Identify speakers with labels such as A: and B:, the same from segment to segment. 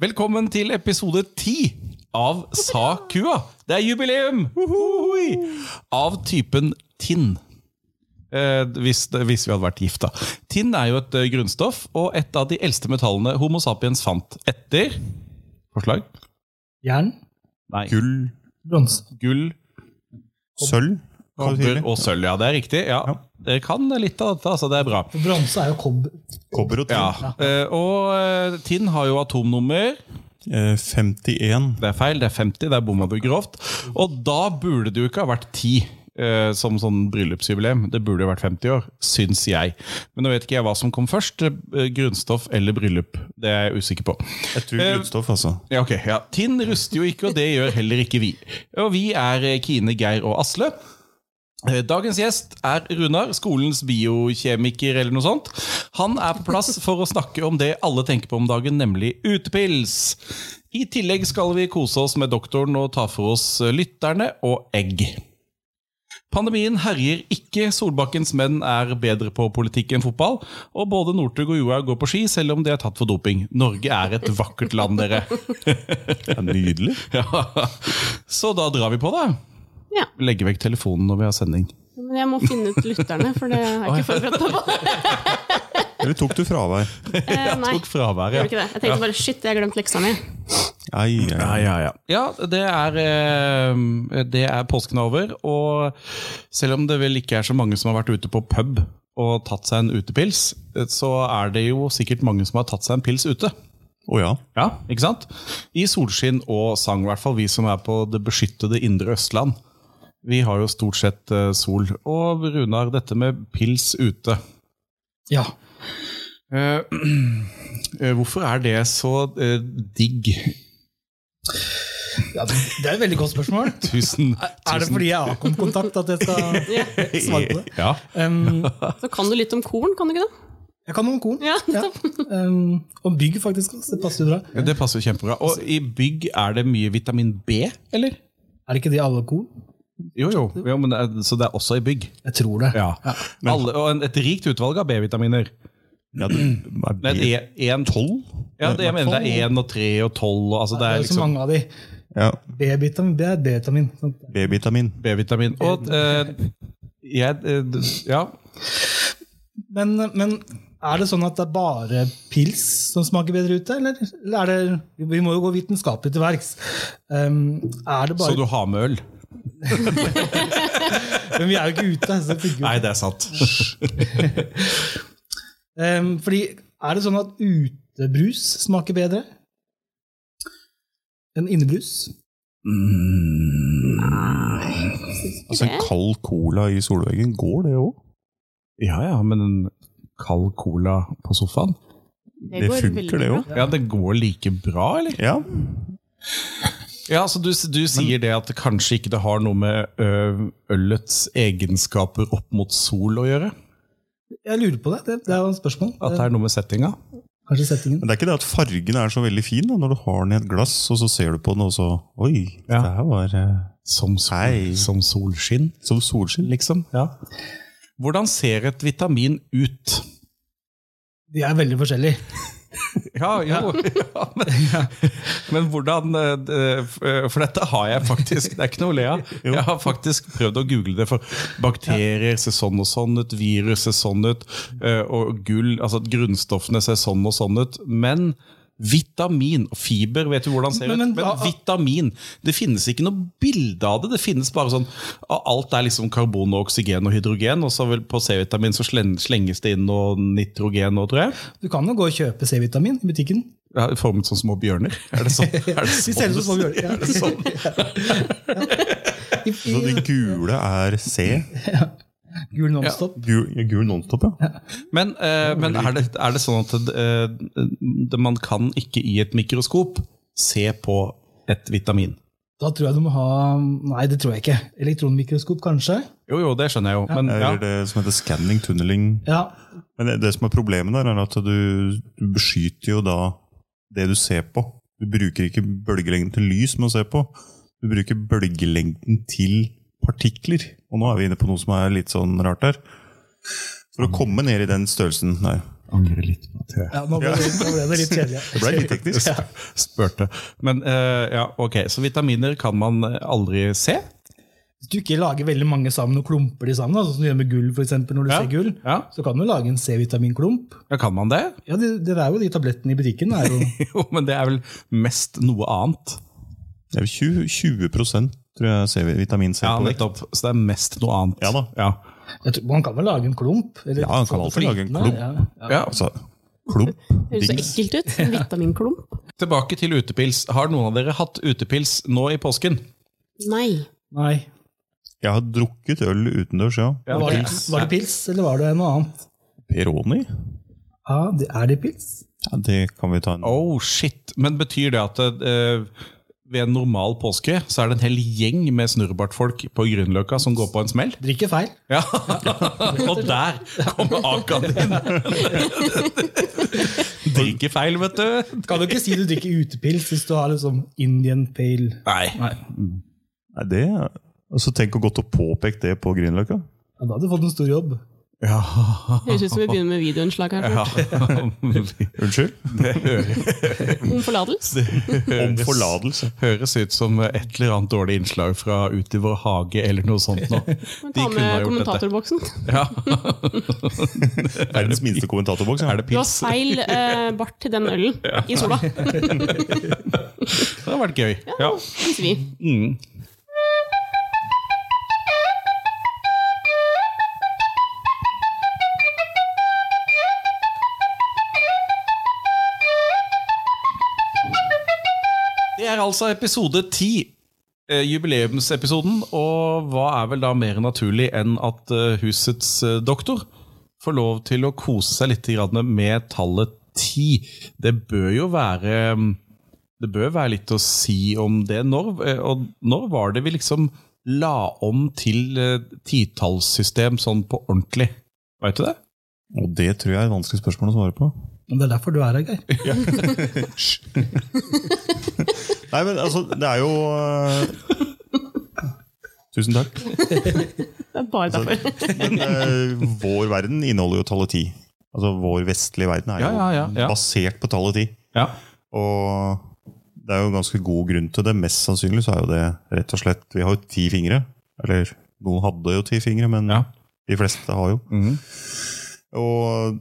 A: Velkommen til episode 10 av Sa kua. Det er jubileum! Hohoi! Av typen tinn. Eh, hvis, hvis vi hadde vært gift, da. Tinn er jo et eh, grunnstoff og et av de eldste metallene Homo sapiens fant etter Forslag?
B: Jern,
A: Nei.
C: Gull,
B: bronse.
A: Gull,
C: sølv, hva sier
A: kobber
C: vi?
A: og sølv. Ja, det er riktig. Ja. Dere kan litt av dette, altså. Det er bra.
B: For Bronse er jo kobber.
C: kobber og tinn.
A: Ja. Eh, og eh, tinn har jo atomnummer.
C: Eh, 51.
A: Det er feil, det er 50, det er bomma du grovt. Og da burde det jo ikke ha vært 10. eh, Som sånn bryllupsjubileum. Det burde jo vært 50 år, syns jeg. Men nå vet ikke jeg hva som kom først. eh, Grunnstoff eller bryllup. Det er jeg usikker på.
C: Jeg tror grunnstoff, altså.
A: Ja, ok. Ja. Tinn ruster jo ikke, og det gjør heller ikke vi. Og vi er eh, Kine, Geir og Asle. Eh, Dagens gjest er Runar, skolens biokjemiker eller noe sånt. Han er på plass for å snakke om det alle tenker på om dagen, nemlig utepils. I tillegg skal vi kose oss med doktoren og ta for oss eh, lytterne og egg. Pandemien herjer ikke, Solbakkens menn er bedre på politikk enn fotball, og både Northug og Johaug går på ski, selv om de er tatt for doping. Norge er et vakkert land, dere.
C: Det er nydelig.
A: Ja. Så da drar vi på, da.
D: Ja.
A: Legge vekk telefonen når vi har sending.
D: Men jeg må finne ut lytterne, for det har jeg ikke forberedt meg på.
C: Eller tok du fravær?
D: Eh, nei,
A: Tok fraværet.
D: gjør ikke det. Jeg tenkte bare shit, jeg har glemt leksa mi.
C: Ai,
A: Ja,
C: ai.
A: ja, ja. ja det, er, eh, det er påsken over, og selv om det vel ikke er så mange som har vært ute på pub og tatt seg en utepils, eh, så er det jo sikkert mange som har tatt seg en pils ute.
C: Å ja.
A: Ja, ikke sant? I solskinn og sang, i hvert fall vi som er på det beskyttede indre Østland. Vi har jo stort sett eh, sol. Og Runar, dette med pils ute.
B: Ja.
A: Eh, eh, hvorfor er det så eh, digg?
B: ja. Det er et veldig godt spørsmål.
A: Tusen,
B: Er det
A: tusen-
B: fordi jeg har kontakt at jeg skal svare på det?
A: Ja.
B: Um,
D: Så kan du litt om korn, kan du ikke det?
B: jeg kan noe om korn.
D: Ja,
B: Ja. Um, om bygg, faktisk. Så det passer jo bra.
A: Det passer jo kjempebra. Og i bygg er det mye vitamin B, eller?
B: Er det ikke det i alle korn?
A: Jo, jo. jo men, det er- så det er også i bygg.
B: Jeg tror det.
A: Ja. Alle, og en- et rikt utvalg av B-vitaminer.
C: ja det, er
A: Nei,
C: det,
A: det er en- Ja, det, jeg mener det er én og tre og tolv. og Altså, det
B: Det
A: er
B: er jo så
A: liksom
B: mange av de.
C: ja.
B: B-vitamin, det er B-vitamin. sant?
C: B-vitamin.
A: B-vitamin. Og eh, jeg eh, d- Ja.
B: Men, men er det sånn at det er bare pils som smaker bedre ute, eller? eller er det, vi må jo gå vitenskapelig til verks. Um, er det
A: Så
B: bare
A: du har med øl?
B: Men vi er jo ikke ute. Så det funker jo
A: Nei, det er sant.
B: Um, fordi er det sånn at utebrus smaker bedre enn innebrus?
C: Altså en kald cola i solveggen, går det òg?
A: Ja ja, men en kald cola på sofaen?
C: Det funker, det òg.
A: Ja, det går like bra, eller?
C: Ja.
A: Ja, så du, du sier det at det kanskje ikke det har noe med ø, ølets egenskaper opp mot sol å gjøre?
B: Jeg lurer på det. Det, det er jo et spørsmål.
A: At det er noe med settinga?
B: Kanskje settingen.
C: Men det er ikke det at fargen er så veldig fin da, når du har den i et glass, og så ser du på den, og så Oi,
A: Ja.
C: det her var eh,
A: Som, sol,
C: Hei.
A: som solskinn,
C: som solskinn.
A: liksom? Ja. Hvordan ser et vitamin ut?
B: De er veldig forskjellige.
A: Ja, jo ja, men, men hvordan ø, d- ø, For dette har jeg faktisk, det er ikke noe å le av. Jeg har faktisk prøvd å google det, for bakterier ser sånn og sånn ut, virus ser sånn ut, ø, og gull, altså at grunnstoffene ser sånn og sånn ut. Men vitamin og fiber, vet du hvordan ser det ut?
B: Men- men
A: Men,
B: hva-
A: vitamin, det finnes ikke noe bilde av det. Det finnes bare sånn Alt er liksom karbon og oksygen og hydrogen, og så vel på C-vitamin så sleng- slenges det inn noe nitrogen nå, tror jeg.
B: Du kan jo gå og kjøpe C-vitamin i butikken.
A: Ja, formet som små bjørner? Er det sånn? Er det
B: De selger som små bjørner, ja.
A: Er det sånn?
B: I,
C: Så
B: i
C: det gule er C.
B: gul Nonstop.
C: Gul, ja, gul nonstop, ja.
A: Men, eh, men er, det, er det sånn at eh, det, man kan ikke i et mikroskop se på et vitamin?
B: Da tror jeg du må ha Nei, det tror jeg ikke. Elektronmikroskop, kanskje?
A: Jo, jo, det skjønner jeg jo, men ja.
C: Eller det som heter scanning, tunneling.
B: Ja.
C: Men det, det som er problemet der, er at du, du beskytter jo da det du ser på. Du bruker ikke bølgelengden til lys med å se på. Du bruker bølgelengden til partikler.
A: Mm.
C: Og nå er vi inne på noe som er litt sånn rart der. For å komme ned i den størrelsen der,
E: Angrer litt på at jeg
B: Ja, nå ble, det- nå ble det litt kjedelig.
C: Det ble litt teknisk.
B: Ja.
A: Spurte. Men eh, ja, ok, så vitaminer kan man eh, aldri se?
B: Hvis du ikke lager veldig mange sammen og klumper de sammen, da, sånn som du gjør med gull for eksempel, når du
A: Ja.
B: ser gull,
A: Ja,
B: så kan du lage en C-vitaminklump.
A: ja kan man det?
B: Ja, det, det er jo de tablettene i butikken. Er jo,
A: Jo, men det er vel mest noe annet.
C: Det er 20, 20 tror jeg ser vi- vitamin C
A: Ja,
C: på vekt.
A: nettopp. Så det er mest noe annet.
C: Ja da.
B: jeg tror, man kan vel lage en klump? eller
C: Ja, man kan alltid lage en
B: flytende,
C: klump.
B: ja.
A: Ja,
C: Altså, klump.
D: Det høres så
C: Dings.
D: ekkelt ut. Vitaminklump.
A: Tilbake til utepils. Har noen av dere hatt utepils nå i påsken?
D: Nei.
B: Nei.
C: Jeg har drukket øl utendørs, ja.
A: Ja,
B: var, det,
A: pils.
B: var det pils, eller var det noe annet?
C: Peroni?
B: Ja, det, Er det pils?
C: Ja, det kan vi ta en
A: Oh shit, men betyr det at eh, ved en normal påske så er det en hel gjeng med snurrebartfolk på Grünerløkka som går på en smell?
B: Drikker feil.
A: Ja, og der kommer Akan din! Drikker feil, vet du.
B: Kan du ikke si du drikker utepils hvis du har liksom Indian pale?
A: Nei.
B: Nei.
C: Nei, det altså, Tenk å godt å påpeke det på Grünerløkka.
B: Ja, da hadde du fått en stor jobb.
A: Ja.
D: Høres ut som vi begynner med videoinnslag her.
A: ja.
C: Unnskyld?
A: Det høres,
D: Om forlatelse.
A: det
C: Om
A: høres,
C: forlatelse.
A: høres ut som et eller annet dårlig innslag fra Ut i vår hage eller noe sånt. Nå.
D: Men
A: De
D: ta
A: kunne ha gjort
D: med kommentatorboksen.
A: Ja.
C: Verdens minste kommentatorboks. Ja.
A: Er det
D: Du har
A: pils?
D: feil eh, bart til den ølen i sola,
A: Det har vært gøy. Ja.
D: syns vi.
A: Mm. Det er altså episode ti. eh, Jubileumsepisoden, og hva er vel da mer naturlig enn at eh, husets eh, doktor får lov til å kose seg litt grann med tallet ti? Det bør jo være mm, det bør være litt å si om det. Når, eh, og når var det vi liksom la om til eh, titallssystem sånn på ordentlig? Veit du det?
C: Og det tror jeg er et vanskelig spørsmål å svare på.
B: Men det er derfor du er her, Geir.
C: Nei, men altså, det er jo eh, Tusen takk.
D: Det er bare
C: Altså,
D: derfor.
C: men eh, vår verden inneholder jo tallet ti. Altså, vår vestlige verden er jo
A: Ja, ja, ja, ja.
C: basert på tallet ti.
A: Ja.
C: Og det er jo ganske god grunn til det. Mest sannsynlig så er jo det rett og slett Vi har jo ti fingre. Eller noen hadde jo ti fingre, men
A: Ja.
C: de fleste har jo.
A: Mhm.
C: Og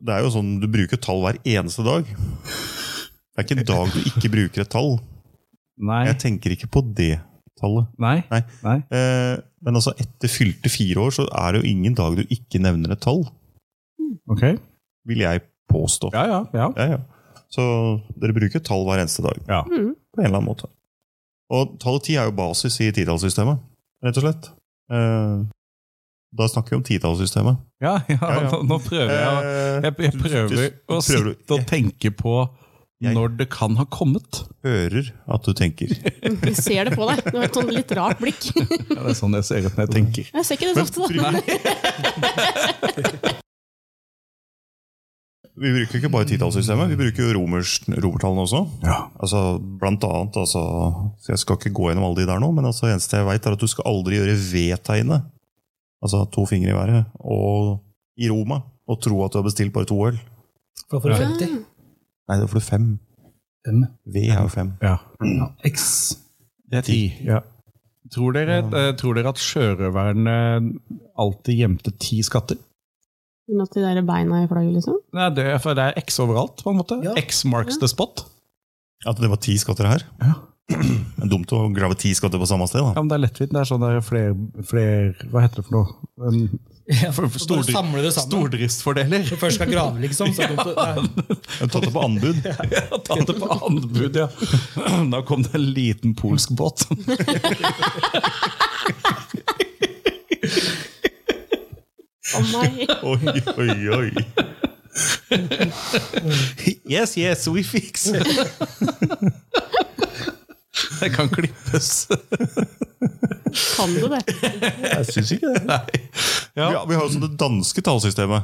C: det er jo sånn du bruker tall hver eneste dag. Det er ikke en dag du ikke bruker et tall.
A: Nei.
C: Jeg tenker ikke på det tallet.
A: Nei.
C: Nei.
A: Nei.
C: Eh, men altså, etter fylte fire år så er det jo ingen dag du ikke nevner et tall,
A: Ok.
C: vil jeg påstå.
A: Ja, ja. ja.
C: Ja, ja. Så dere bruker tall hver eneste dag.
A: Ja.
D: Mm.
C: På en eller annen måte. Og tallet ti er jo basis i titallssystemet, rett og slett. Eh, da snakker vi om titallssystemet.
A: ja, ja.
C: Ja, ja.
A: Nå, nå prøver jeg å
C: Eh,
A: jeg, jeg prøver å
C: prøver du-
A: sitte og tenke på
C: Jeg-
A: når det kan ha kommet.
C: hører at du tenker.
D: Vi ser det på deg. Du har et sånn litt rart blikk.
A: Ja, det er sånn jeg ser ut når jeg tenker.
D: Jeg ser ikke det så ofte, da.
C: Vi bruker ikke bare titallssystemet, vi bruker jo romersk- romertallene også. Altså, blant annet, altså, så Jeg skal ikke gå gjennom alle de der nå, men altså, det eneste jeg vet er at du skal aldri gjøre V-tegnet. Altså to fingre i været. Og i Roma. Og tro at du har bestilt bare to øl.
B: For da får du 50.
C: Nei, da får du fem.
B: Fem.
C: V er jo fem.
A: Ja.
B: Ja, X.
A: Det er ti. Ja. Tror, dere, eh, tror dere at sjørøverne alltid gjemte ti skatter?
D: Uten at de der beina i flagget, liksom.
A: Nei, det, er- for det er X overalt, på en måte.
B: Ja.
A: X marks the spot.
C: At det var ti skatter her?
A: Ja.
C: Det er dumt å grave ti skatter på samme sted,
A: Ja,
C: da.
A: men det er lettvint. Det er sånn der fler, fler Hva heter det for noe? En for- for
B: Bare
A: stordri-
B: samle det sammen.
A: Stordriftsfordeler.
B: Du først skal grave, liksom. Så er det dumt å- Nei.
C: Jeg har tatt det på anbud.
A: Ja, Ta det på anbud, ja. Da kom det en liten polsk båt.
D: Å nei.
C: Oi, oi, oi.
A: Yes, yes, we fix it. Det kan klippes.
D: Kan du det?
C: Jeg syns ikke det.
A: Nei.
C: Ja, vi har jo sånn det danske tallsystemet.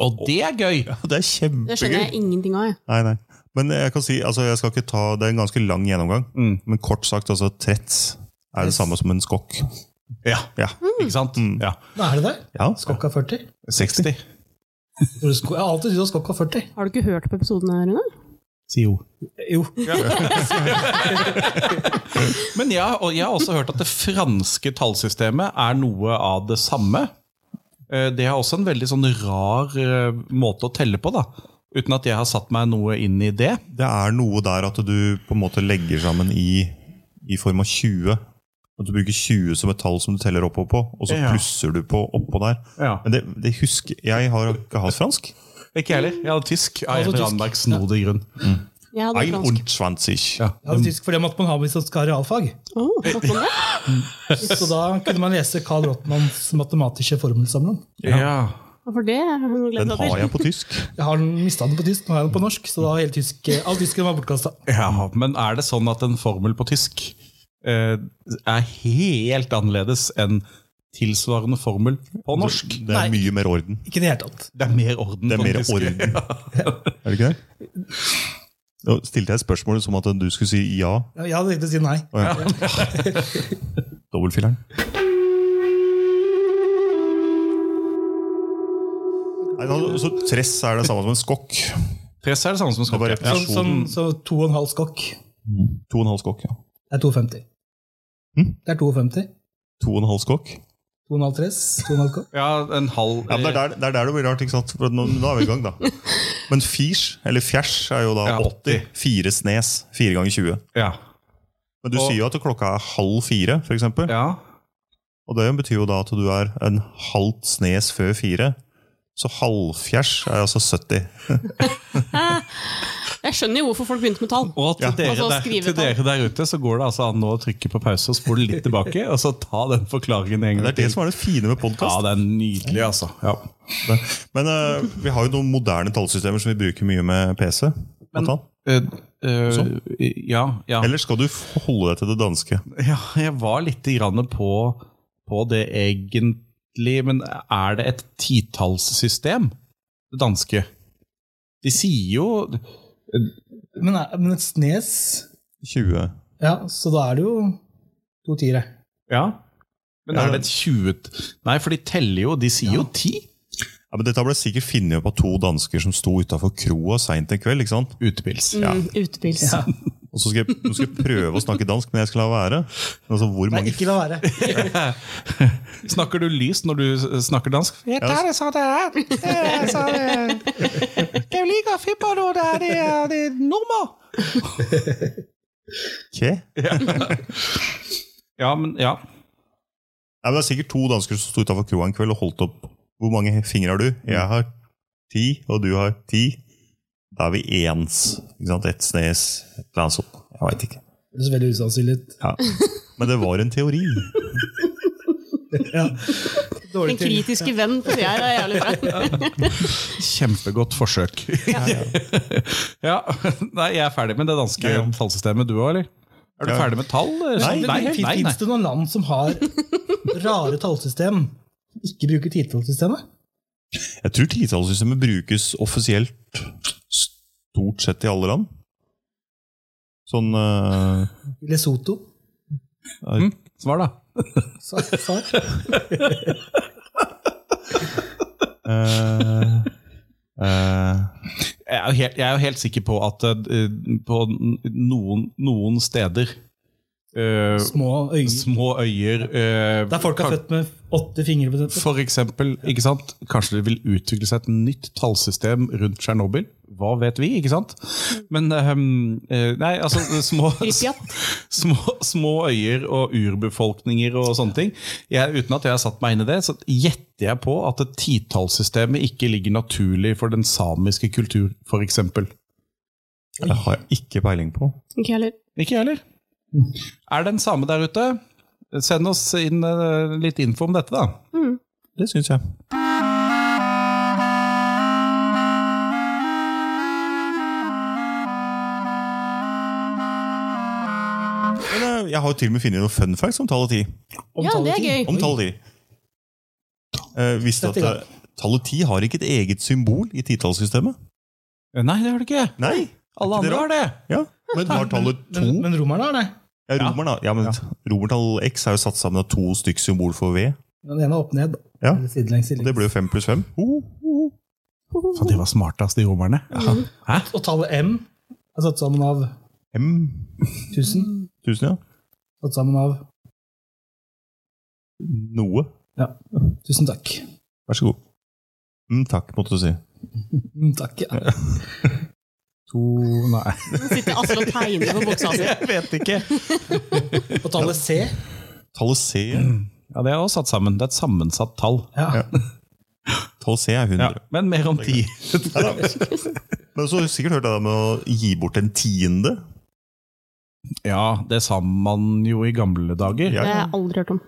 A: Og det er gøy!
C: Ja, det er kjempegøy.
D: Det skjønner jeg ingenting av. jeg.
C: Nei, nei. Men jeg kan si, altså jeg skal ikke ta, det er en ganske lang gjennomgang,
A: Mm.
C: men kort sagt, altså trets er det samme som en skokk.
A: Ja,
C: Ja.
A: Mm. ikke sant? Ja.
B: Hva er det der?
C: ja.
B: Skokk av 40?
A: 60.
B: Jeg har alltid syntes at skokk var 40.
D: Har du ikke hørt på episoden her, Rune?
E: Si jo.
B: Jo.
A: Men jeg, og jeg har også hørt at det franske tallsystemet er noe av det samme. Eh, Det er også en veldig sånn rar eh, måte å telle på, da. Uten at jeg har satt meg noe inn i det.
C: Det er noe der at du på en måte legger sammen i, i form av 20. At du bruker 20 som et tall som du teller oppå på, og så
A: Ja.
C: plusser du på oppå der. Men det, det husker Jeg har ikke hatt fransk.
A: Ikke jeg heller. Jeg hadde tysk av en
B: Altså
A: eller
B: tysk.
A: annen merks snodig grunn.
D: Jeg hadde
C: Ein
D: fransk.
C: und zwanzig.
A: Ja.
B: Jeg hadde tysk fordi man måtte ha hvis man skal ha realfag.
D: Oh, snakk om det.
B: Så da kunne man lese Carl Rottmanns matematiske formelsamling.
A: Ja.
D: Hvorfor det? Jeg har glemt
C: Den
D: at
C: har
D: det-
C: jeg på tysk.
B: Jeg har mista den på tysk, nå har jeg den på norsk. Så da var hele tysk, eh, all tysken var bortkasta.
A: Ja, Men er det sånn at en formel på tysk eh, er helt annerledes enn tilsvarende formel på norsk?
C: Det er mye mer orden.
B: Ikke i det hele tatt.
A: Det er mer orden
C: Det er
A: på
C: mer
A: den tyske.
C: orden. Er det ikke det? Nå stilte jeg spørsmålet som at du skulle si ja.
B: Jeg hadde tenkt å si nei.
C: Å ja. Dobbeltfilleren. Nei, da- Så tress er det samme som en skokk.
A: Press er det samme som
C: Det er bare
A: skokk.
B: Sånn, sånn,
C: repetisjonen.
B: så to og en halv skokk.
C: To og en halv skokk, ja.
B: Det er 52.
C: Hm?
B: Det er 52.
C: To og en halv skokk.
B: To og en halv tress. To og en halv skokk.
A: Ja, en halv
C: Ja, men det, er der, det er der det blir rart, ikke sant? For nå, nå er vi i gang, da. Men firs, eller fjers, er jo da
A: Ja, 80.
C: 80. Fire snes. Fire ganger 20.
A: ja.
C: Men du
A: Og-
C: sier jo at klokka er halv fire, for eksempel.
A: ja.
C: Og det betyr jo da at du er en halvt snes før fire. Så halvfjers er altså 70.
D: Jeg skjønner jo hvorfor folk begynte med tall.
A: Og til, dere,
D: Altså,
A: der,
D: skrive
A: til
D: på.
A: dere der ute så går det altså an å trykke på pause og spole litt tilbake, og så ta den forklaringen en
C: Det
A: gang
C: er det som er det fine med
A: Ja,
C: podkast.
A: det er nydelig, altså. Ja.
C: Men eh, vi har jo noen moderne tallsystemer som vi bruker mye med PC. blant annet.
A: Eh, eh, ja, ja.
C: Eller skal du holde deg til det danske?
A: ja, jeg var litt grann på, på det egentlig, men er det et titallssystem? Det danske. De sier jo
B: Men, er- men et snes
C: 20.
B: Ja, så da er det jo to tiere.
A: Ja. Men er det et 20... Nei, for de teller jo De sier jo ti
C: Ja, men Dette ble sikkert funnet opp av to dansker som sto utafor kroa seint en kveld. ikke sant?
A: utepils.
D: Mm, utepils.
C: Og så skal jeg, Nå skal jeg prøve å snakke dansk, men jeg skal la være. Men Altså,
B: Nei,
C: hvor mange
B: ikke la være.
A: Snakker du lyst når du eh, snakker dansk?
F: Ja, der er det sånn det er. Det er sånn eh, Det er jo like fipper nå, det er det, er- det er nummer.
C: Kje?
A: Ja, men ja.
C: Nei, men Det er sikkert to dansker som sto utafor kroa en kveld og holdt opp. Hvor mange fingre har du? Jeg har ti, og du har ti. Da er vi ens. Ikke sant? Ett snes, et eller annet sånt. Jeg veit ikke.
B: Det høres veldig usannsynlig ut.
C: Ja. Men det var en teori.
B: Ja.
D: Den
B: Dårlig til.
D: kritiske venn på sida her er jævlig bra.
A: Kjempegodt forsøk. Ja, Nei, jeg er ferdig med det danske
C: Ja, ja.
A: tallsystemet, du òg, eller? Er du
C: Ja.
A: ferdig med tall? eh,
C: Nei,
A: nei,
B: Fins
A: nei, nei.
B: det noen land som har rare tallsystem, som ikke bruker titallsystemet?
C: Jeg tror titallssystemet brukes offisielt stort sett i alle land. Sånn eh,
B: I Lesotho?
A: Svar, da.
B: sa- sa-
C: eh, eh,
A: Jeg er jo helt, jeg er jo helt sikker på at eh, på noen, noen steder eh,
B: Små øyer.
A: Små øyer eh,
B: Der folk er
A: kan-
B: født med åtte fingre. på dette.
A: For eksempel, ikke sant? kanskje det vil utvikle seg et nytt tallsystem rundt Tsjernobyl. Hva vet vi, ikke sant? Men ehm, eh, Nei, altså små,
D: Pripyat.
A: små, små øyer og urbefolkninger og sånne ting. Jeg, uten at jeg har satt meg inn i det, så gjetter jeg på at et titallssystemet ikke ligger naturlig for den samiske kultur, f.eks.
C: det har jeg ikke peiling på.
D: Ikke heller.
A: Ikke jeg heller. Er det en same der ute? Send oss inn eh, litt info om dette, da.
D: Mm.
C: Det syns jeg. Men eh, jeg har jo til og med funnet noen fun facts om tallet ti.
D: Ja, det er
B: Omtaletid.
D: gøy.
C: Om tallet ti. Eh, visste du at
B: Dette,
C: eh, tallet ti har ikke et eget symbol i titallssystemet?
A: Nei, det har det ikke.
C: Nei!
A: Alle
C: ikke det
A: andre har det.
C: Ja, Men har tallet to
B: Men, men romerne har det.
C: ja, romeren, da. ja, men Romertall x er jo satt sammen av to stykk symbol for V.
B: Den ene er opp ned.
C: Ja.
B: Eller sidelengs.
C: Og det
B: sidelengs.
C: Oh, ble jo fem pluss fem. Ho, ho, ho.
A: Faen, de var smartest, de romerne. Ja. Hæ?
B: Og tallet M er satt sammen av
C: M.
B: 1000.
C: Tusen, ja.
B: Satt sammen av
C: Noe.
B: Ja. Tusen takk.
C: Vær så god. Mm, takk, måtte du si.
B: Mm, Takk, ja.
C: To Nei.
D: Nå sitter Asle og tegner på buksa si.
A: Jeg vet ikke.
B: Og tallet C.
C: Tallet C.
A: Ja, Det er også satt sammen. Det er et sammensatt tall.
B: Ja.
C: Tallet C er 100.
A: Ja, men mer om ti.
C: Men så har du sikkert hørt det der med å gi bort en tiende.
A: Ja, det sa man jo i gamle dager.
D: Det har jeg aldri hørt om.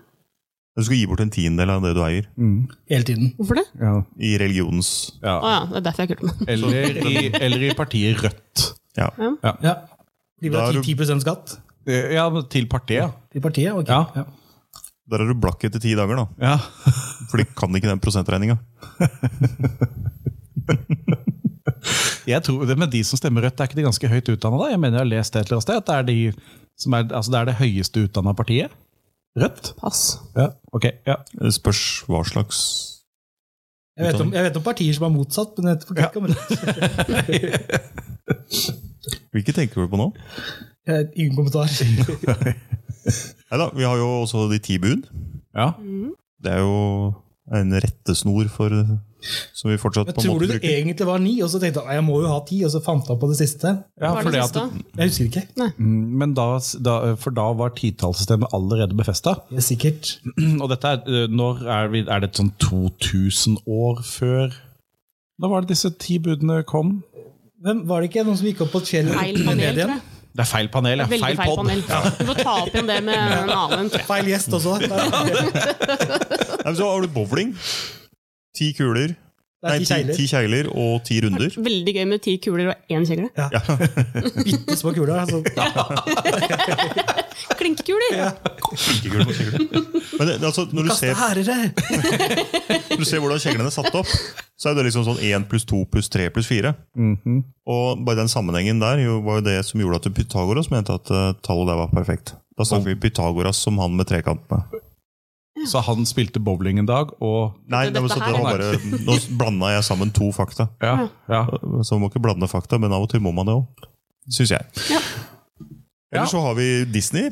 C: Du skal gi bort en tiendedel av det du eier.
A: Mm,
B: Hele tiden.
D: Hvorfor det?
A: ja.
C: I religionens
A: Ja.
D: Å ja, det er derfor jeg kulte meg.
A: Eller, i, eller i partiet Rødt.
B: Ja. De vil
C: Da er
B: ha
C: du-
B: 10 10 skatt
A: Eh, Ja, men til partiet.
B: til partiet. ok.
A: Ja.
B: Ja.
C: Der er du blakk etter ti dager, da.
A: Ja.
C: For de kan ikke den prosentregninga.
A: Jeg tror det, Men de som stemmer Rødt, er ikke de ganske høyt utdanna? da? Jeg mener jeg har lest et eller annet sted at det er, de som er, altså det, er det høyeste utdanna partiet. Rødt?
D: Pass.
A: Ja. Ok, ja.
C: Det spørs hva slags
B: Jeg, vet om, jeg vet om partier som er motsatt, men jeg vet ikke om det.
C: Hvilke tenker du på nå?
B: Jeg har Ingen kommentar.
C: Neida, vi har jo også de ti bud.
A: ja.
C: Det er jo en rettesnor for Som vi fortsatt
B: Men
C: på en
B: tror du
C: måte
B: det
C: bruker.
B: egentlig var ni, og så tenkte jeg "Nei, jeg må jo ha ti, og så fant jeg på det siste?
A: ja
D: Hva er
A: for,
D: det
A: det
D: siste?
A: at,
B: Jeg husker ikke.
A: Mm, men da, da, for da var titallssystemet allerede befesta.
B: Det er sikkert.
A: Og dette er, eh, når er, vi, er det sånn 2000 år før Da var det disse ti budene kom?
B: Hvem, var det ikke noen som gikk opp på et fjell
D: Feil
B: ned
D: panel,
B: igjen?
D: tror jeg.
A: Det er feil panel, ja.
D: Veldig feil,
A: pod.
D: panel. Du får ta opp igjen det med en annen, tror jeg.
B: Feil gjest også. Det er,
C: Nei, men så har du bowling. Ti kuler.
B: det
C: Nei,
B: er ti
C: ti,
B: kjegler.
C: ti kjegler og ti runder.
D: Veldig gøy med ti kuler og én kjegle.
B: Bitte små kuler. Altså.
D: Klinkekuler!
C: Kinkekuler mot kjegler. Men det, altså, når, du
B: Kaste
C: ser,
B: hærere!
C: når du ser hvordan kjeglene er satt opp, så er det liksom sånn én pluss to pluss tre pluss fire.
A: Mhm.
C: Og bare den sammenhengen der jo, var jo det som gjorde at Pythagoras mente at eh, tallet der var perfekt. Da snakker vi Pythagoras som han med trekantene.
A: Så han spilte bowling en dag, og
C: Nei,
D: Det
C: det
D: er
C: var
D: dette
C: sånn at det var bare, Nå blanda jeg sammen to fakta.
A: Ja, ja.
C: Så man må ikke blande fakta, men av og til må man det òg. Syns jeg.
D: Ja.
A: Ja.
C: Eller så har vi Disney.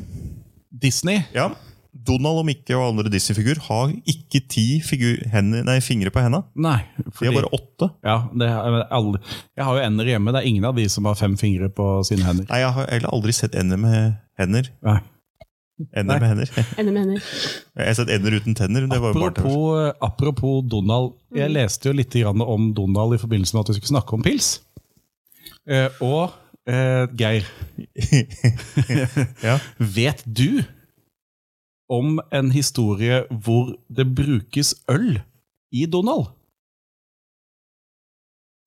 A: Disney
C: Ja. Donald og Mikke og andre Disney-figur har ikke ti figur, hender, nei, fingre på henda.
A: Nei.
C: De
A: Fordi,
C: har bare åtte.
A: ja, det er alle, jeg har jo ender hjemme. Det er ingen av de som har fem fingre på sine hender.
C: Nei, jeg har heller aldri sett ender med hender.
A: Nei.
C: Ender med hender.
D: Ender med hender.
C: Jeg har sett ender uten tenner. Det var jo barne-TV.
A: Apropos, eh, apropos Donald. Jeg leste jo litt grann om Donald i forbindelse med at vi skulle snakke om pils. Eh, og eh, Geir,
C: Ja.
A: vet du om en historie hvor det brukes øl i Donald?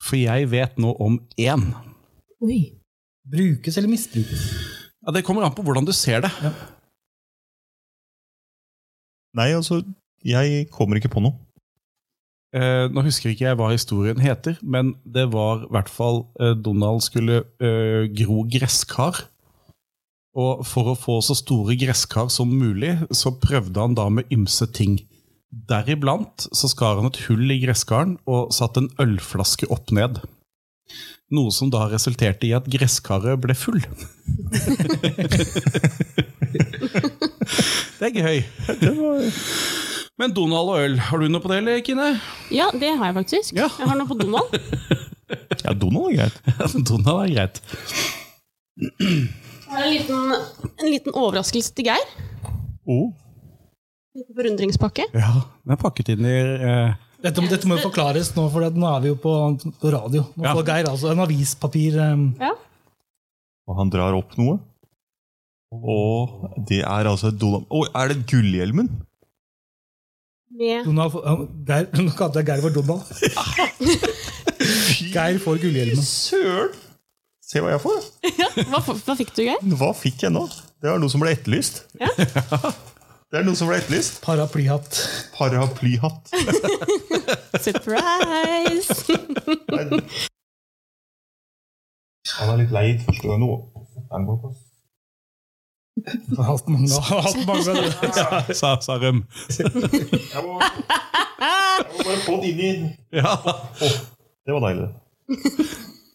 A: For jeg vet nå om én.
D: Oi.
B: Brukes eller misbrukes?
A: Ja, det kommer an på hvordan du ser det.
C: Nei, altså, jeg kommer ikke på noe.
A: Eh, nå husker ikke jeg hva historien heter, men det var i hvert fall eh, Donald skulle eh, gro gresskar. Og for å få så store gresskar som mulig, så prøvde han da med ymse ting. Deriblant så skar han et hull i gresskaren og satte en ølflaske opp ned. Noe som da resulterte i at gresskaret ble full. det er gøy. Men Donald og øl, har du noe på det, eller, Kine?
D: Ja, det har jeg faktisk.
A: Ja.
D: Jeg har noe på Donald.
C: Ja, Donald er greit.
A: Donald er greit.
D: Jeg har en liten, en liten overraskelse til Geir.
C: Oh.
D: En liten Forundringspakke.
A: Ja, den er pakket inn i eh,
B: Dette, må- dette må jo forklares nå, for nå er vi jo på, på radio. Nå
A: Ja.
B: får Geir altså en avispapir um,
D: Ja.
C: Og han drar opp noe. Og det er altså et Donald Å, er det gullhjelmen?
D: Med
B: Donald, får- ja, Geir, Nå kalte jeg Geir for Donald. Geir får gullhjelmen.
C: Søren! Se hva jeg får.
D: hva, f- hva fikk du, Geir?
C: Hva fikk jeg nå? Det var noe som ble etterlyst.
D: Ja.
C: Det er noe som ble etterlyst.
B: Paraplyhatt.
C: Paraplyhatt.
D: Surprise!
C: Han er litt lei første gang nå. Han går på.
B: Jeg har Hatt mange, jeg har hatt mange av det.
A: sa, sa Røm.
C: Jeg må, jeg må bare få det inn i
A: Ja.
C: Det var deilig.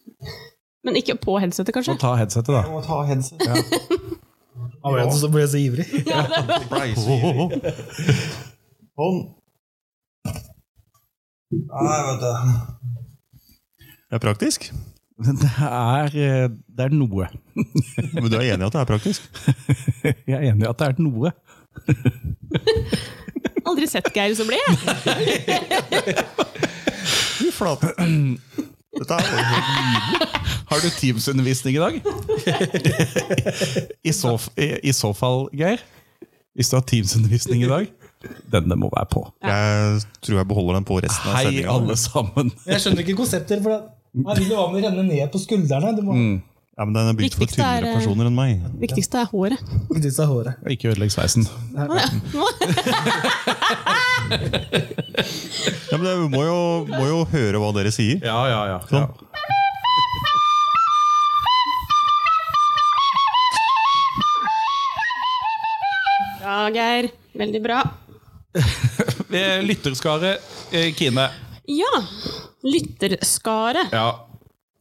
D: Men ikke på headsetet, kanskje?
E: Så ta headsetet, da.
F: må ta headset.
B: Av en som ble så ivrig.
C: Sånn.
F: Nei, vet du.
C: Det er praktisk.
A: Det er, eh, det er noe.
C: Men du er enig i at det er praktisk?
A: Jeg er enig i at det er noe.
D: Aldri sett Geir så blid, jeg.
C: Fy flate. Dette er jo helt
A: Har du Teams-undervisning i dag? I så, i, I så fall, Geir, hvis du har Teams-undervisning i dag, denne må være på.
C: Jeg tror jeg beholder den på resten av
A: Hei,
C: sendinga.
A: alle sammen.
B: Jeg skjønner ikke konsepter, for det- man vil jo ha med å renne ned på skuldrene. Du må
A: Mm.
C: Ja, men den er bygd for
D: Viktigste er,
C: tynnere
D: eh,
C: personer enn meg.
D: Viktigste er håret.
B: ikke disse håret.
A: Ikke ødelegg sveisen.
C: Ja, men det, vi må jo, må jo høre hva dere sier.
A: Ja, ja, ja.
D: Bra, Geir. Veldig bra.
A: Eh, Lytterskare, eh, Kine.
D: Ja, lytterskare.
A: Ja.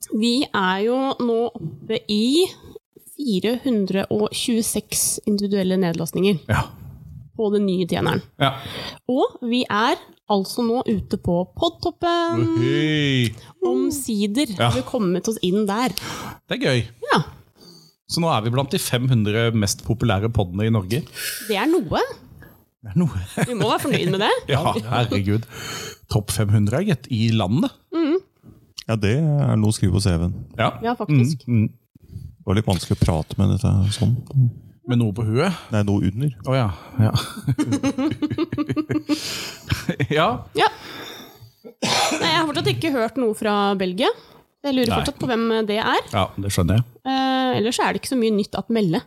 D: Vi er jo nå oppe i 426 individuelle nedlastninger
A: Ja.
D: på den nye tjeneren.
A: ja.
D: Og vi er altså nå ute på podtoppen.
A: Hei.
D: Omsider
A: Ja.
D: har vi kommet oss inn der.
A: Det er gøy.
D: Ja,
A: Så nå er vi blant de 500 mest populære podene i Norge.
D: det er noe.
A: Det er noe.
D: Vi må være fornøyd med det.
A: Ja, herregud. Topp 500, gitt, i landet.
C: Ja, det er noe å skrive på CV-en.
A: Ja. Mm,
D: Ja, faktisk.
C: Det var litt vanskelig å prate med dette her sånn.
A: Med noe på huet.
C: Nei, noe under.
A: Å ja. Ja. ja.
D: Ja. Nei, jeg har fortsatt ikke hørt noe fra Belgia. Jeg lurer
A: Nei.
D: fortsatt på hvem det er.
A: Ja, det skjønner jeg.
D: Eh, ellers er det ikke så mye nytt at melde.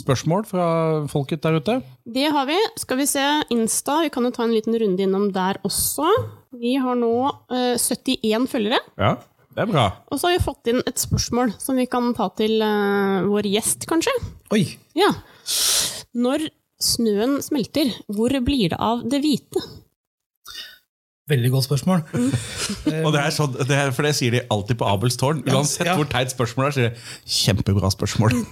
A: Spørsmål fra folket der ute?
D: Det har vi. Skal vi se Insta. Vi kan jo ta en liten runde innom der også. Vi har nå eh, 71 følgere.
A: Ja, det er bra.
D: Og så har vi fått inn et spørsmål som vi kan ta til eh, vår gjest, kanskje.
B: Oi!
D: Ja. Når snøen smelter, hvor blir det av det hvite?
B: Veldig godt spørsmål.
A: Og det er sånn, det er, For det sier de alltid på Abels tårn. Uansett
B: Ja.
A: hvor teit spørsmålet er, sier de 'kjempebra spørsmål'.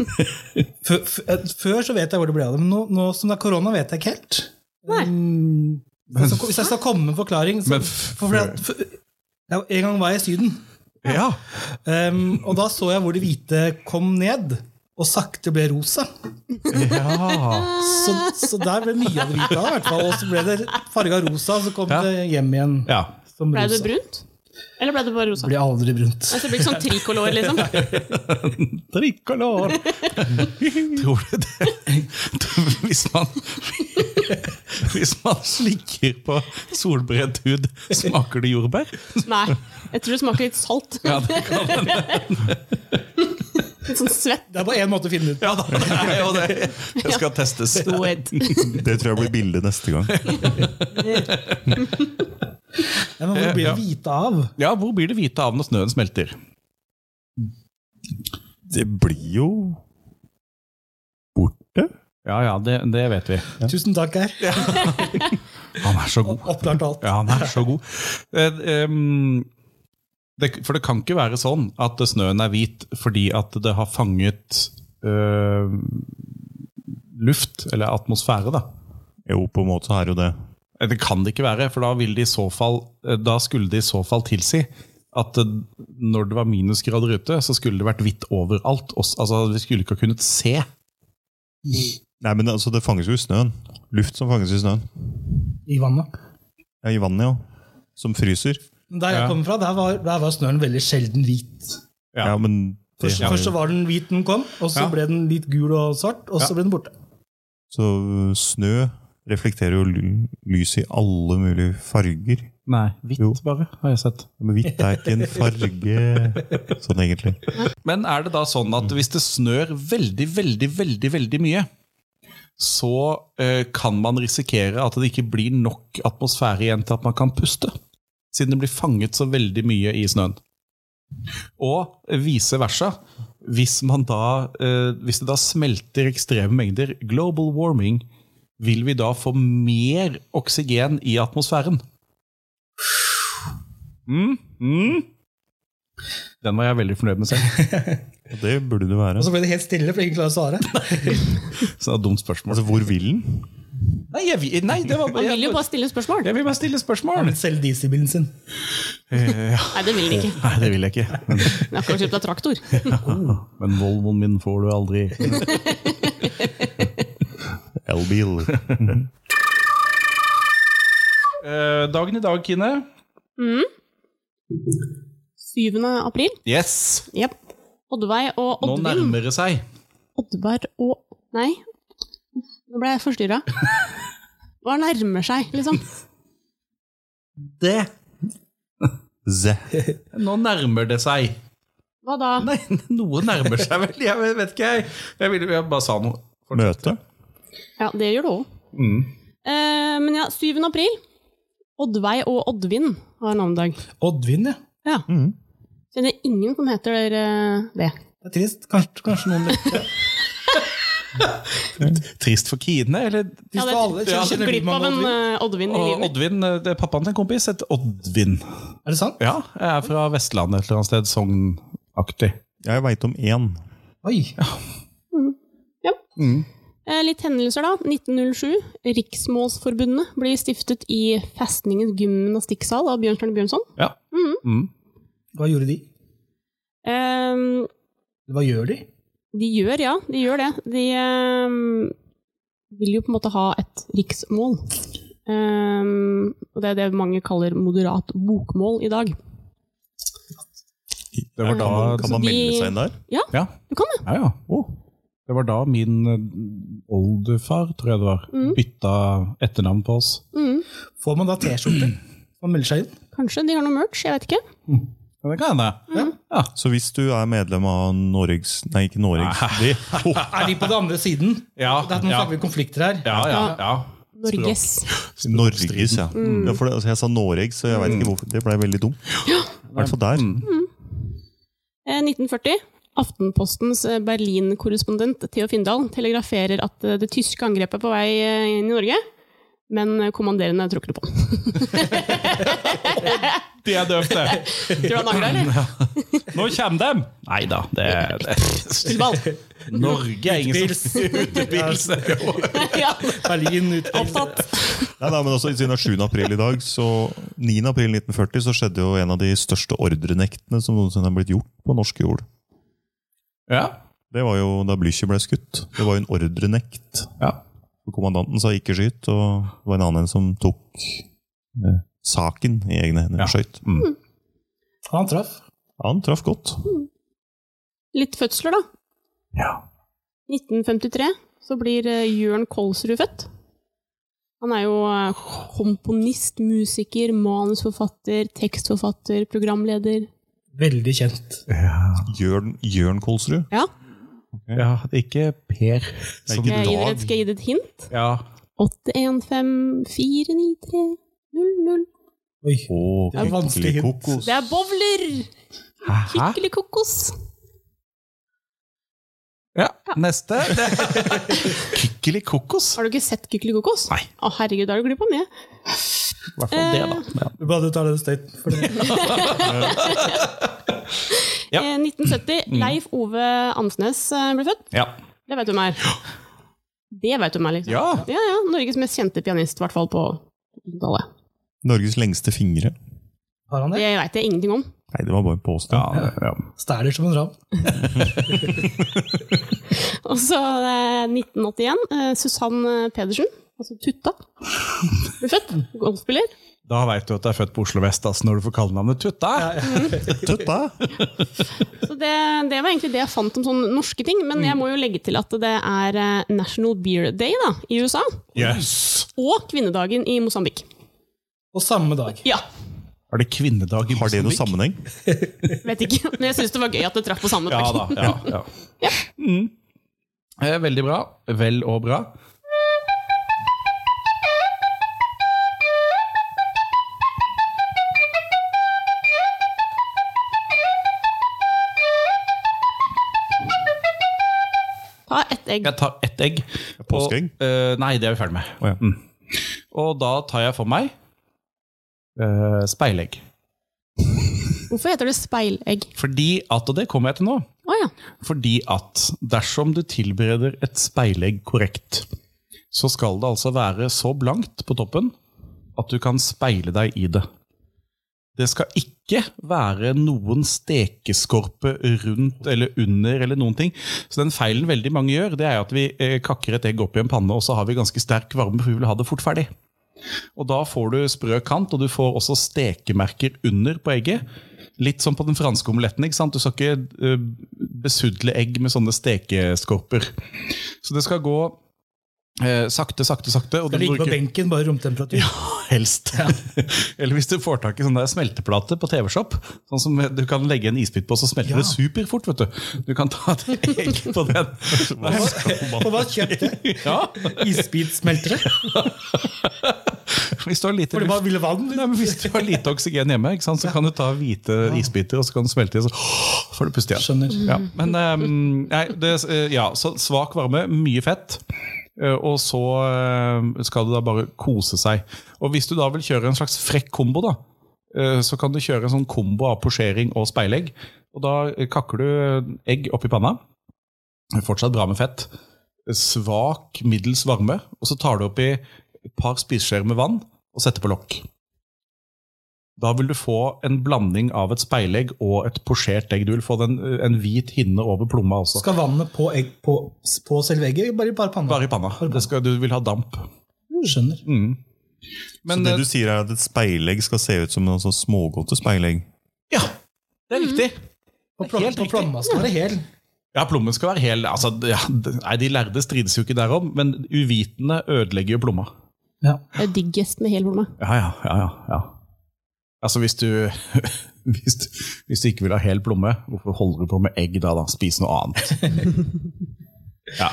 B: Før, f- eh, før så vet jeg hvor det ble av det, men nå, nå som det er korona, vet jeg ikke helt.
D: Nei.
B: Mm, hvis jeg skal- hvis jeg skal komme med en forklaring så,
A: Men f-
B: for, fordi at- for, ja, En gang var jeg i Syden,
A: Ja,
B: ehm, og da så jeg hvor det hvite kom ned. Og sakte ble rosa.
A: ja.
B: Så, så der ble mye av det hvite av. i hvert fall. Og så ble det farga rosa, og så kom
A: Ja.
B: det hjem igjen
A: ja.
B: som
D: Ble
B: rosa.
D: det brunt? Eller ble det bare rosa?
B: Blir aldri brunt.
D: Altså, det blir ikke sånn trikolor, liksom.
A: Tricolor! Tror du det Hvis man Hvis man slikker på solbrent hud, smaker det jordbær?
D: Nei. Jeg tror det smaker litt salt.
A: Ja, det kan hende.
D: Litt sånn svett.
B: Det er bare én måte å finne det ut.
A: Ja, da, det er jo det. Det skal testes.
D: Do it.
C: Det tror jeg blir bildet neste gang.
B: Ja, men hvor blir
A: Ja.
B: det hvite av?
A: Ja, hvor blir det hvite av når snøen smelter?
C: Det blir jo borte.
A: Ja ja, det, det vet vi.
B: Tusen takk, Geir.
A: Han er så god.
B: Oppklart alt.
A: Ja, han er så god. Eh, em, det, for det kan ikke være sånn at snøen er hvit fordi at det har fanget eh, luft, eller atmosfære, da.
C: Jo, på en måte så er jo det.
A: Eh, Det kan det ikke være, for da, vil det i så fall, eh, da skulle det i så fall tilsi at eh, når det var minusgrader ute, så skulle det vært hvitt overalt. Også, altså, vi skulle ikke ha kunnet se.
C: Nei, men altså, det fanges jo i snøen. Luft som fanges i snøen.
B: I vannet.
C: Ja, I vannet, ja. Som fryser.
B: Men Der jeg
A: Ja.
B: kommer fra, der var, der var snøen veldig sjelden hvit.
A: Ja.
C: Ja, men det
B: Først,
C: er
B: først så
C: jo
B: var den hvit den kom, og så
A: Ja.
B: ble den litt gul og svart, og så
A: Ja.
B: ble den borte.
C: Så snø reflekterer jo ly- lys i alle mulige farger.
A: Nei, hvitt
C: Jo.
A: bare, har jeg sett.
C: Men hvitt er ikke en farge sånn egentlig.
A: Men er det da sånn at hvis det snør veldig, veldig, veldig, veldig mye, så eh, kan man risikere at det ikke blir nok atmosfære igjen til at man kan puste? Siden det blir fanget så veldig mye i snøen. Og vice versa. Hvis, man da, eh, hvis det da smelter ekstreme mengder, global warming, vil vi da få mer oksygen i atmosfæren? Mm, mm. Den var jeg veldig fornøyd med selv.
C: Og det burde det være.
B: Og så
D: Altså,
B: ble det helt stille, for ingen klarer å svare.
A: Så det er et dumt spørsmål.
C: Altså, hvor vil den?
A: Nei, jeg, vil- nei det var
D: Han vil jo
A: jeg,
D: bare stille spørsmål.
A: jeg vil bare stille spørsmål.
B: Men Selv dieselbilen sin.
D: Nei, det vil han ikke.
A: Nei, det vil jeg ikke.
D: Han har kanskje kjøpt deg traktor.
A: Men Volvoen min får du aldri.
C: Elbil.
A: Eh, dagen i dag, Kine.
D: 7. Mm. april.
A: Yes!
D: Jep. Oddveig og
A: Nå
D: Oddvin.
A: nærmer det seg.
D: Oddvar og Nei, nå ble jeg forstyrra. Hva nærmer seg, liksom?
A: Det.
C: Ze.
A: Nå nærmer det seg.
D: Hva da?
A: Nei, noe nærmer seg vel. Jeg vet ikke, jeg. Jeg, ville, jeg bare sa noe.
C: Møte.
D: Ja, det gjør det òg. Eh, men ja, 7. april. Oddveig og Oddvin har navnedag.
B: Oddvin, ja.
D: Ja. Kjenner ingen som heter eh, det.
B: Det er trist. Kanskje, kanskje noen likte det.
A: Trist for Kine, eller?
D: Ja,
B: Trist for alle.
A: Ja,
B: Kjenner, kjenner du
D: Glipp av
B: mange
D: en
B: Oddvin?
D: eh, Oddvin i
A: Og
D: livet.
A: Oddvin, eh, det er pappaen til en kompis, heter Oddvin.
B: Er det sant?
A: Ja, jeg er fra Vestlandet et eller annet sted, Sogn-aktig.
C: Jeg veit om én.
B: Oi.
A: Mm.
D: Eh, litt hendelser, da. 1907. Riksmålsforbundet blir stiftet i Festningens gymnastikksal av Bjørnstjerne Bjørnson.
A: Ja. Mm.
B: Hva gjorde de?
D: Eh,
B: Hva gjør de?
D: De gjør, ja. De gjør det. De ehm, vil jo på en måte ha et riksmål. Ehm, og det er det mange kaller moderat bokmål i dag.
A: Det var da
C: Kan man, kan man
D: Så de-
C: melde seg inn der?
A: Ja,
D: Du kan det!
A: ja. ja. Det var da min eh, oldefar, tror jeg det var,
D: Mm.
A: bytta etternavn på oss.
D: Mm,
B: Får man da T-skjorte? Man melder seg inn?
D: kanskje de har noe merch, jeg vet ikke.
A: Ja, det kan hende.
C: Så hvis du er medlem av Norges Nei, ikke Norges.
D: Ah.
A: De,
B: Er de på den andre siden?
A: ja,
B: Det er at Nå snakker vi konflikter her.
A: ja, ja, ja.
D: Norges.
C: Norges, ja.
D: Mm.
C: ja for det, altså, jeg sa Noreg, så jeg veit ikke hvorfor. Det blei veldig dumt. I hvert fall der.
D: Mm. Eh, 1940. Aftenpostens eh, Berlin-korrespondent Theo Findal telegraferer at eh, det tyske angrepet er på vei eh, inn i Norge, men eh, kommanderende tror ikke det på.
A: De er døvt, det.
D: Tror du han angrer, eller?
A: Nå kommer dem! Nei da, det, det.
D: Ball.
A: Norge er ingen
B: Utepils.
A: som Utepils. det er jo-
D: ja,
B: Berlin utpils.
D: opptatt.
C: Nei, nei, men altså, Siden det er 7. april i dag, så 9. april 1940 så skjedde jo en av de største ordrenektene som noensinne er blitt gjort på norsk jord.
A: Ja.
C: Det var jo da Blücher ble skutt. Det var jo en ordrenekt.
A: ja.
C: Og Kommandanten sa ikke skyt, og det var en annen som tok eh, saken i egne hender
A: Ja.
C: og skøyt.
B: Han traff.
C: Han traff godt.
D: Litt fødsler, da.
A: ja.
D: 1953 så blir eh, Jørn Kolsrud født. Han er jo eh, komponist, musiker, manusforfatter, tekstforfatter, programleder.
B: Veldig kjent.
C: Jørn, Jørn Kolsrud.
D: Ja,
A: ja. Ikke Per. Som,
C: Ikke
D: jeg gir
C: dag.
D: dere et, skal jeg gi dere et hint.
A: ja.
D: 815-493-00.
B: Oi.
C: Å,
B: Det er vanskelig
C: kykkeli
B: hint.
C: kokos.
D: Det er bowler!
A: Hæ?
D: Skikkelig kokos.
A: Ja, neste. Kykkeli kokos.
D: Har du ikke sett Kykkeli kokos?
A: Nei.
D: Å, herregud, da har du glippa mye.
A: I hvert fall det, da.
B: Du bare tar den støyten. for det.
A: Ja. Mm.
D: Eh, 1970, Leif Ove Amsnes eh, ble født.
A: Ja.
D: Det vet du hvem er. Det vet du hvem er, liksom.
A: ja.
D: Ja, ja. Norges mest kjente pianist, i hvert fall på 2000-tallet.
C: Norges lengste fingre.
B: Har han det?
D: Det veit jeg ingenting om.
C: Nei, det var bare en påstand.
A: Ja, det- ja.
B: Stæler som en ram.
D: Og så eh, 1981, eh, Susann Pedersen, altså Tutta, ble født. Golfspiller.
A: Da veit du at du er født på Oslo vest, altså, når du får kallenavnet Tutta.
C: Tøtta!
D: Så det, det var egentlig det jeg fant om sånne norske ting. Men
A: Mm.
D: jeg må jo legge til at det er eh, National Beer Day da, i USA.
A: Yes.
D: Og kvinnedagen i Mosambik.
B: Og samme dag.
D: Ja,
A: Er det kvinnedag i
C: Har det noe
A: Mosambik?
C: sammenheng?
D: vet ikke. Men jeg syns det var gøy at det traff på samme
A: Ja
D: dag.
A: da. Ja, ja. Mm. Eh, Veldig bra. Vel og bra.
D: Ta ett egg.
A: Jeg tar ett egg.
C: Påskeegg?
A: Og, eh, nei, det er vi ferdig med.
C: Å ja.
A: Mm. Og da tar jeg for meg eh, speilegg.
D: Hvorfor heter det speilegg?
A: Fordi at, og det kommer jeg til nå,
D: Å ja.
A: fordi at dersom du tilbereder et speilegg korrekt, så skal det altså være så blankt på toppen at du kan speile deg i det. Det skal ikke være noen stekeskorpe rundt eller under eller noen ting. Så den feilen veldig mange gjør, det er at vi eh, kakker et egg opp i en panne, og så har vi ganske sterk varme, for vi vil ha det fort ferdig. Og da får du sprø kant, og du får også stekemerker under på egget. Litt som på den franske omeletten. ikke sant? Du skal ikke eh, besudle egg med sånne stekeskorper. Så det skal gå eh, sakte, sakte, sakte. Og
B: Det
A: du
B: ligger på
A: bruker-
B: benken, bare romtemperatur.
A: helst. Eller hvis du får tak i sånn der smelteplate på TV-Shop, sånn som du kan legge en isbit på, så smelter
B: Ja.
A: det superfort. vet Du Du kan ta et egg på den.
B: Og hva kjøpte
A: Ja,
B: isbitsmeltere?
A: hvis du har lite
B: For det
A: luft-
B: bare ville vann? liksom.
A: Nei, men hvis du har lite oksygen hjemme, ikke sant? så kan du ta hvite isbiter og så kan du smelte i, og så får du puste igjen.
B: Skjønner.
A: Ja, men, ehm, nei, det, eh, ja, så svak varme, mye fett. eh, Og så eh, skal det da bare kose seg. Og hvis du da vil kjøre en slags frekk kombo, da, eh, så kan du kjøre en sånn kombo av posjering og speilegg. Og da eh, kakker du egg oppi panna. Fortsatt bra med fett. Svak, middels varme. Og så tar du oppi et par spiseskjeer med vann og setter på lokk. Da vil du få en blanding av et speilegg og et posjert egg. Du vil få den, eh, en hvit hinne over plomma også.
B: Skal vannet på, egg, på, på selve egget? Bare, bare panna?
A: Bare i panna. Det skal, du vil ha damp.
B: Skjønner.
A: Mm.
C: så det
A: eh,
C: du sier er at et speilegg skal se ut som en sånn smågodte speilegg?
A: Ja, det er riktig.
B: På, plom,
A: Helt
B: på
A: riktig.
B: plomma skal være hel.
A: Ja, plommen skal være hel. Altså, d- ja, d- nei, de lærde strides jo ikke derom, men uvitende ødelegger jo plomma.
B: Ja.
D: Det er diggest med hel plomma.
A: Ja, ja, ja, ja, ja. Altså, hvis du, hvis, du, hvis du ikke vil ha hel plomme, hvorfor holder du på med egg da? da? Spis noe annet. Ja.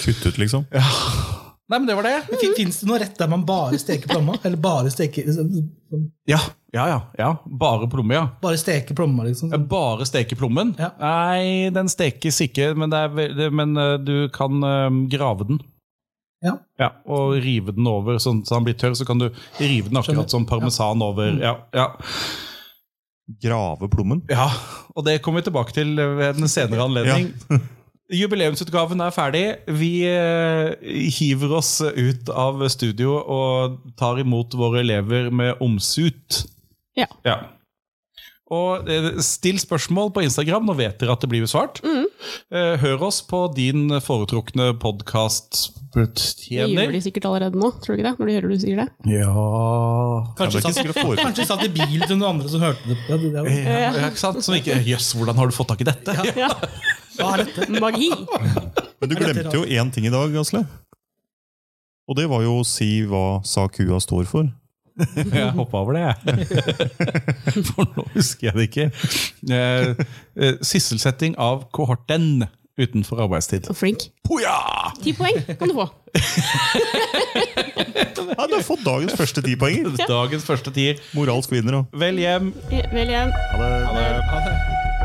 C: Kutt ut, liksom?
A: Nei, men det var det.
B: Fins det noe rett der man bare steker plomma? Eller bare steker, liksom,
A: Ja, ja, ja. ja. Bare plomme, ja.
B: bare steker plomma, liksom?
A: Bare steke plommen?
B: Ja.
A: Nei, den stekes ikke, men, det er, ve- det- men eh, du kan eh, grave den.
B: Ja.
A: Og rive den over, sånn så den blir tørr. Så kan du rive den akkurat
B: Skjønner.
A: som parmesan over. Ja, Mm. ja.
C: Grave plommen?
A: ja, Og det kommer vi tilbake til ved en senere anledning. Jubileumsutgaven er ferdig. Vi eh, hiver oss ut av studio og tar imot våre elever med omsut.
D: Ja.
A: Ja. Og eh, still spørsmål på Instagram, nå vet dere at det blir besvart.
D: Mm.
A: Eh, Hør oss på din foretrukne
D: Det gjør
A: podkast-tjener.
D: de sikkert allerede nå, tror du ikke det? Når de hører du sier det.
A: Ja
C: Jeg
B: Kanskje
C: ble ikke
B: satt,
C: sikker på foretaket.
B: kanskje satt i bil til noen andre som hørte det. Ja, det, det er jo-
A: ja, ja, ikke sant? Som ikke Jøss, hvordan har du fått tak i dette?
D: Ja,
B: Hva er dette?
D: Magi!
C: Men du glemte jo én ting i dag, Asle. Og det var jo å si hva Sakua står for.
A: Jeg hoppa over det, jeg. For nå husker jeg det ikke. Eh, eh, Sysselsetting av kohorten utenfor arbeidstid.
D: Så flink.
A: Poja!
D: Ti poeng kan du få.
C: Ja, du har fått dagens første tipoenger!
A: Dagens første tier.
C: Moralsk vinner, da.
D: Eh,
A: Vel hjem.
D: Vel hjem.
C: Ha det.
A: Ha det.